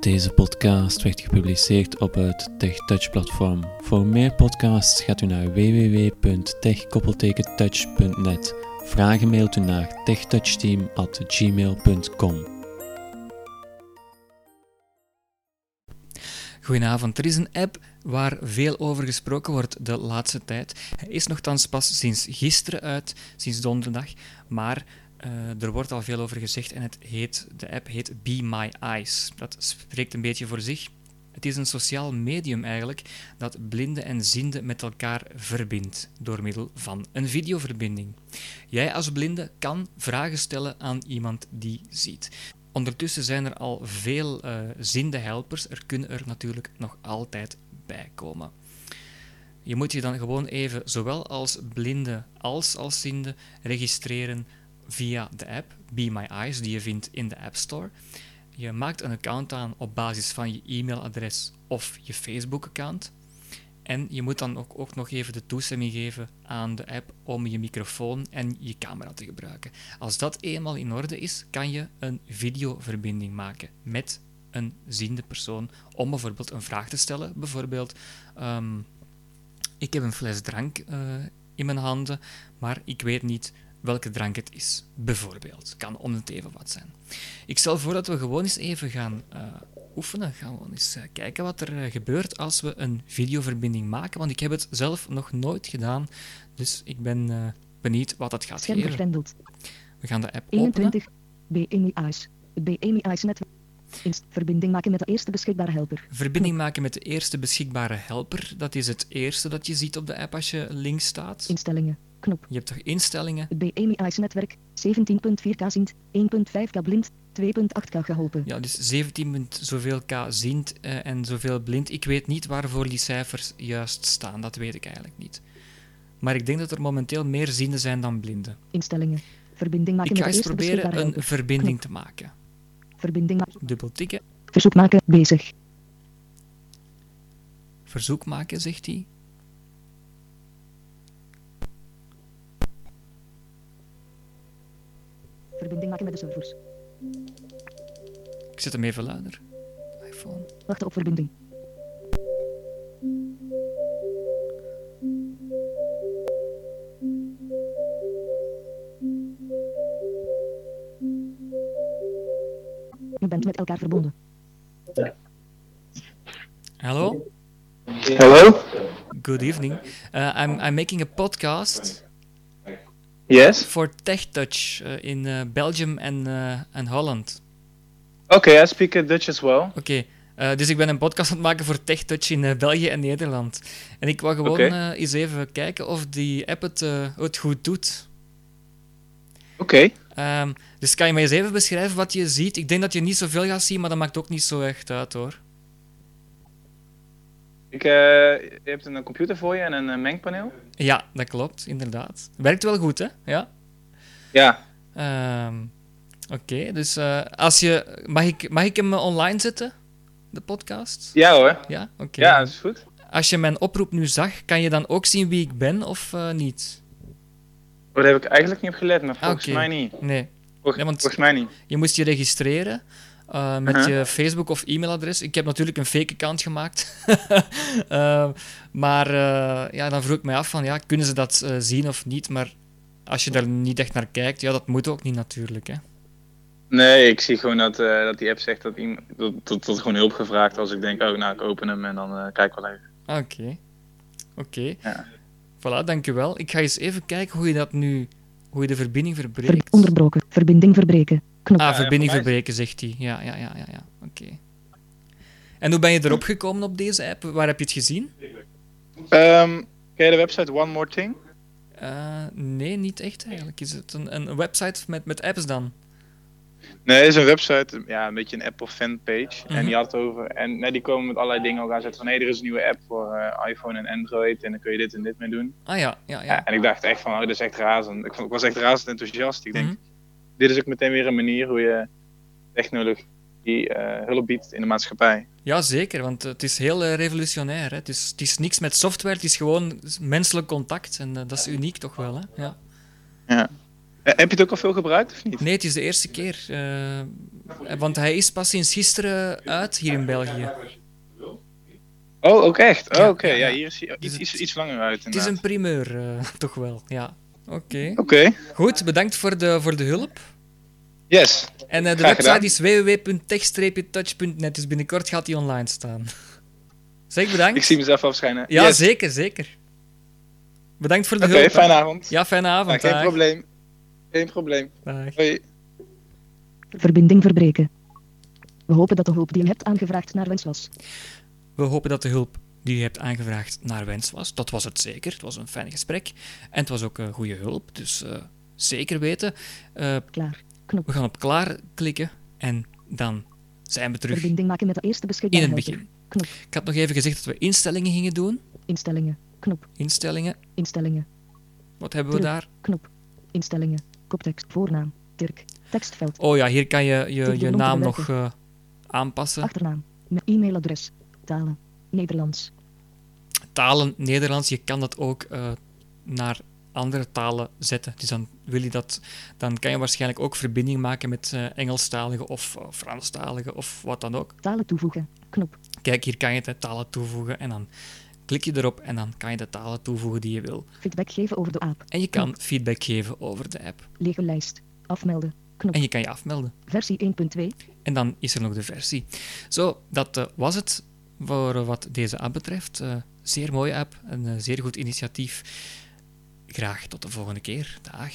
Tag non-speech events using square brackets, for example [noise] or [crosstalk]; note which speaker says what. Speaker 1: Deze podcast werd gepubliceerd op het TechTouch-platform. Voor meer podcasts gaat u naar www.tech-touch.net. Vragen mailt u naar techtouchteam.gmail.com.
Speaker 2: Goedenavond. Er is een app waar veel over gesproken wordt de laatste tijd. Hij is nogthans pas sinds gisteren uit, sinds donderdag, maar eh, er wordt al veel over gezegd en het heet, de app heet Be My Eyes. Dat spreekt een beetje voor zich. Het is een sociaal medium eigenlijk dat blinden en zienden met elkaar verbindt door middel van een videoverbinding. Jij als blinde kan vragen stellen aan iemand die ziet. Ondertussen zijn er al veel eh zinde helpers. Er kunnen er natuurlijk nog altijd bij komen. Je moet je dan gewoon even, zowel als blinde als als zinde, registreren via de app Be My Eyes, die je vindt in de App Store. Je maakt een account aan op basis van je e-mailadres of je Facebook-account. En je moet dan ook, ook nog even de toestemming geven aan de app om je microfoon en je camera te gebruiken. Als dat eenmaal in orde is, kan je een videoverbinding maken met een ziende persoon om bijvoorbeeld een vraag te stellen. Bijvoorbeeld, ehm, ik heb een fles drank eh, in mijn handen, maar ik weet niet welke drank het is. Bijvoorbeeld, kan om het even wat zijn. Ik stel voor dat we gewoon eens even gaan eh, oefenen. Gaan we gewoon eens eh, kijken wat er eh, gebeurt als we een videoverbinding maken. Want ik heb het zelf nog nooit gedaan, dus ik ben eh, benieuwd wat dat gaat
Speaker 3: Scherm
Speaker 2: geven.
Speaker 3: gegrendeld.
Speaker 2: We gaan de app openen.
Speaker 3: 21. BMI Eyes. Het BMI Eyes netwerk. Inst. Verbinding maken met de eerste beschikbare helper.
Speaker 2: Verbinding maken met de eerste beschikbare helper. Dat is het eerste dat je ziet op de app als je links staat.
Speaker 3: Instellingen. Knop.
Speaker 2: Je hebt toch instellingen?
Speaker 3: Het BMI Eyes netwerk. 17.4k ziend. 1.5k blind. 2.8k geholpen.
Speaker 2: Ja, dus 17 punt zoveel k ziend eh, en zoveel blind. Ik weet niet waarvoor die cijfers juist staan. Dat weet ik eigenlijk niet. Maar ik denk dat er momenteel meer zienden zijn dan blinden.
Speaker 3: Instellingen. Verbinding maken
Speaker 2: Ik ga
Speaker 3: met de
Speaker 2: eens
Speaker 3: eerste beschikbare
Speaker 2: proberen een
Speaker 3: helper.
Speaker 2: verbinding te maken.
Speaker 3: Verbinding maken.
Speaker 2: Dubbel tikken.
Speaker 3: Verzoek maken. Bezig.
Speaker 2: Verzoek maken, zegt hij.
Speaker 3: Verbinding maken met de servers.
Speaker 2: Ik zet hem even luider. iPhone.
Speaker 3: Wachten op verbinding. U bent met elkaar verbonden.
Speaker 2: Hallo?
Speaker 4: Hello?
Speaker 2: Good evening. Uh, I'm, I'm making a podcast.
Speaker 4: Yes?
Speaker 2: for Tech Touch uh, in uh, Belgium en, eh, en Holland.
Speaker 4: Okay, I speak uh, Dutch as well.
Speaker 2: Oké, eh, dus ik ben een podcast aan het maken voor Tech Touch in eh, België en Nederland. En ik wou gewoon
Speaker 4: Oké.
Speaker 2: eh, eens even kijken of die app het, eh, het goed doet.
Speaker 4: Okay.
Speaker 2: Ehm, dus kan je mij eens even beschrijven wat je ziet? Ik denk dat je niet zoveel gaat zien, maar dat maakt ook niet zo echt uit hoor.
Speaker 4: Ik, eh, je hebt een computer voor je en een eh, mengpaneel?
Speaker 2: Ja, dat klopt, inderdaad. Werkt wel goed, hè? Ja.
Speaker 4: Ja.
Speaker 2: Ehm, Oké, dus eh, als je. Mag ik, mag ik hem eh, online zetten? De podcast?
Speaker 4: Ja hoor.
Speaker 2: Ja, oké.
Speaker 4: Ja, dat is goed.
Speaker 2: Als je mijn oproep nu zag, kan je dan ook zien wie ik ben of eh, niet?
Speaker 4: Oh, daar heb ik eigenlijk niet op gelet, maar volgens
Speaker 2: Oké.
Speaker 4: mij niet.
Speaker 2: Nee.
Speaker 4: Volg-
Speaker 2: Ja, want-
Speaker 4: Volgens mij niet.
Speaker 2: Je moest je registreren eh, met
Speaker 4: Aha.
Speaker 2: je Facebook of e-mailadres. Ik heb natuurlijk een fake account gemaakt. [laughs] Eh, maar eh, ja, dan vroeg ik mij af van ja, kunnen ze dat eh, zien of niet? Maar als je daar niet echt naar kijkt, ja, dat moet ook niet natuurlijk. Hè?
Speaker 4: Nee, ik zie gewoon dat, eh, dat die app zegt dat iemand dat, dat, dat er gewoon hulp gevraagd als ik denk, oh nou ik open hem en dan eh, kijk ik wel even.
Speaker 2: Ah, Oké. Oké.
Speaker 4: Ja.
Speaker 2: Voilà, dankjewel. Ik ga eens even kijken hoe je dat nu, hoe je de verbinding
Speaker 3: Ver-
Speaker 2: verbreekt.
Speaker 3: onderbroken. Verbinding verbreken. Knop.
Speaker 2: Ah,
Speaker 4: Ja,
Speaker 2: verbinding
Speaker 4: voor mij
Speaker 2: verbreken, zegt hij. Ja, ja, ja, ja. ja. Oké. Hm? En hoe ben je erop gekomen op deze app? Waar heb je het gezien?
Speaker 4: Ehm, ken je de website One More Thing?
Speaker 2: Eh, nee, niet echt eigenlijk. Is het een, een website met, met apps dan?
Speaker 4: Nee, het is een website, ja, een beetje een Apple fanpage.
Speaker 2: Mhm.
Speaker 4: En die had het over. En nee, die komen met allerlei dingen ook aan zetten. Van hé, er is een nieuwe app voor eh, iPhone en Android. En dan kun je dit en dit mee doen.
Speaker 2: Ah ja, ja,
Speaker 4: Ja,
Speaker 2: ja.
Speaker 4: en ik dacht echt van, oh, dit is echt razend. Ik, vond- ik was echt razend enthousiast. Ik denk,
Speaker 2: Mhm.
Speaker 4: dit is ook meteen weer een manier hoe je technologie eh, hulp biedt in de maatschappij.
Speaker 2: Ja, zeker, want het is heel eh, revolutionair. Hè. Het, is, het is niks met software, het is gewoon menselijk contact. En eh, dat is uniek toch wel, hè? Ja.
Speaker 4: Eh, heb je het ook al veel gebruikt of niet?
Speaker 2: Nee, het is de eerste keer. eh, Eh, Want hij is pas sinds gisteren uit hier in België.
Speaker 4: Oh, ook echt? Oh,
Speaker 2: Ja,
Speaker 4: Oké,
Speaker 2: ja,
Speaker 4: ja,
Speaker 2: ja.
Speaker 4: hier is hij
Speaker 2: Dus
Speaker 4: iets,
Speaker 2: het-
Speaker 4: iets, iets langer uit
Speaker 2: Het is
Speaker 4: inderdaad.
Speaker 2: een primeur, eh, [laughs] toch wel. Ja. Oké.
Speaker 4: Oké,
Speaker 2: Goed, bedankt voor de, voor de hulp.
Speaker 4: yes.
Speaker 2: En eh, de
Speaker 4: Graag gedaan.
Speaker 2: website is www.tech-touch.net, dus binnenkort gaat die online staan. [laughs] Zeg bedankt.
Speaker 4: Ik zie mezelf afschijnen.
Speaker 2: Ja,
Speaker 4: Yes.
Speaker 2: zeker, zeker. Bedankt voor de
Speaker 4: Oké,
Speaker 2: hulp. hè.
Speaker 4: fijne avond.
Speaker 2: Ja, fijne
Speaker 4: Ja,
Speaker 2: avond.
Speaker 4: geen
Speaker 2: dag.
Speaker 4: probleem. Geen probleem.
Speaker 2: Dag.
Speaker 4: Hoi.
Speaker 3: Verbinding verbreken. We hopen dat de hulp die je hebt aangevraagd naar wens was.
Speaker 2: We hopen dat de hulp die u hebt aangevraagd naar wens was. Dat was het zeker. Het was een fijn gesprek. En het was ook een goede hulp. Dus eh, zeker weten. Eh,
Speaker 3: Klaar. Knop.
Speaker 2: we gaan op klaar klikken. En dan zijn we terug
Speaker 3: Verbinding maken met de eerste
Speaker 2: in
Speaker 3: beschikbare
Speaker 2: het
Speaker 3: helper.
Speaker 2: begin.
Speaker 3: Knop.
Speaker 2: Ik had nog even gezegd dat we instellingen gingen doen.
Speaker 3: Instellingen. Knop.
Speaker 2: Instellingen.
Speaker 3: Instellingen.
Speaker 2: Wat hebben we
Speaker 3: Terug.
Speaker 2: daar?
Speaker 3: Knop. Instellingen. Koptekst. Voornaam. Dirk. Tekstveld.
Speaker 2: Oh ja, hier kan je je,
Speaker 3: Dit
Speaker 2: je
Speaker 3: benoemt
Speaker 2: naam
Speaker 3: de
Speaker 2: nog eh, aanpassen.
Speaker 3: Achternaam. Met e-mailadres. Talen. Nederlands.
Speaker 2: Talen, Nederlands, je kan dat ook eh, naar andere talen zetten. Dus dan, wil je dat, dan kan je waarschijnlijk ook verbinding maken met eh Engelstalige of eh, Franstalige of wat dan ook.
Speaker 3: Talen toevoegen. Knop.
Speaker 2: Kijk, hier kan je de talen toevoegen en dan klik je erop en dan kan je de talen toevoegen die je wil.
Speaker 3: Feedback geven over de app.
Speaker 2: En je kan feedback geven over de app.
Speaker 3: Lege lijst. Afmelden. Knop.
Speaker 2: En je kan je afmelden.
Speaker 3: Versie 1.2.
Speaker 2: En dan is er nog de versie. Zo, dat eh, was het voor eh, wat deze app betreft. Eh, zeer mooie app, een eh, zeer goed initiatief. Graag tot de volgende keer. Dag.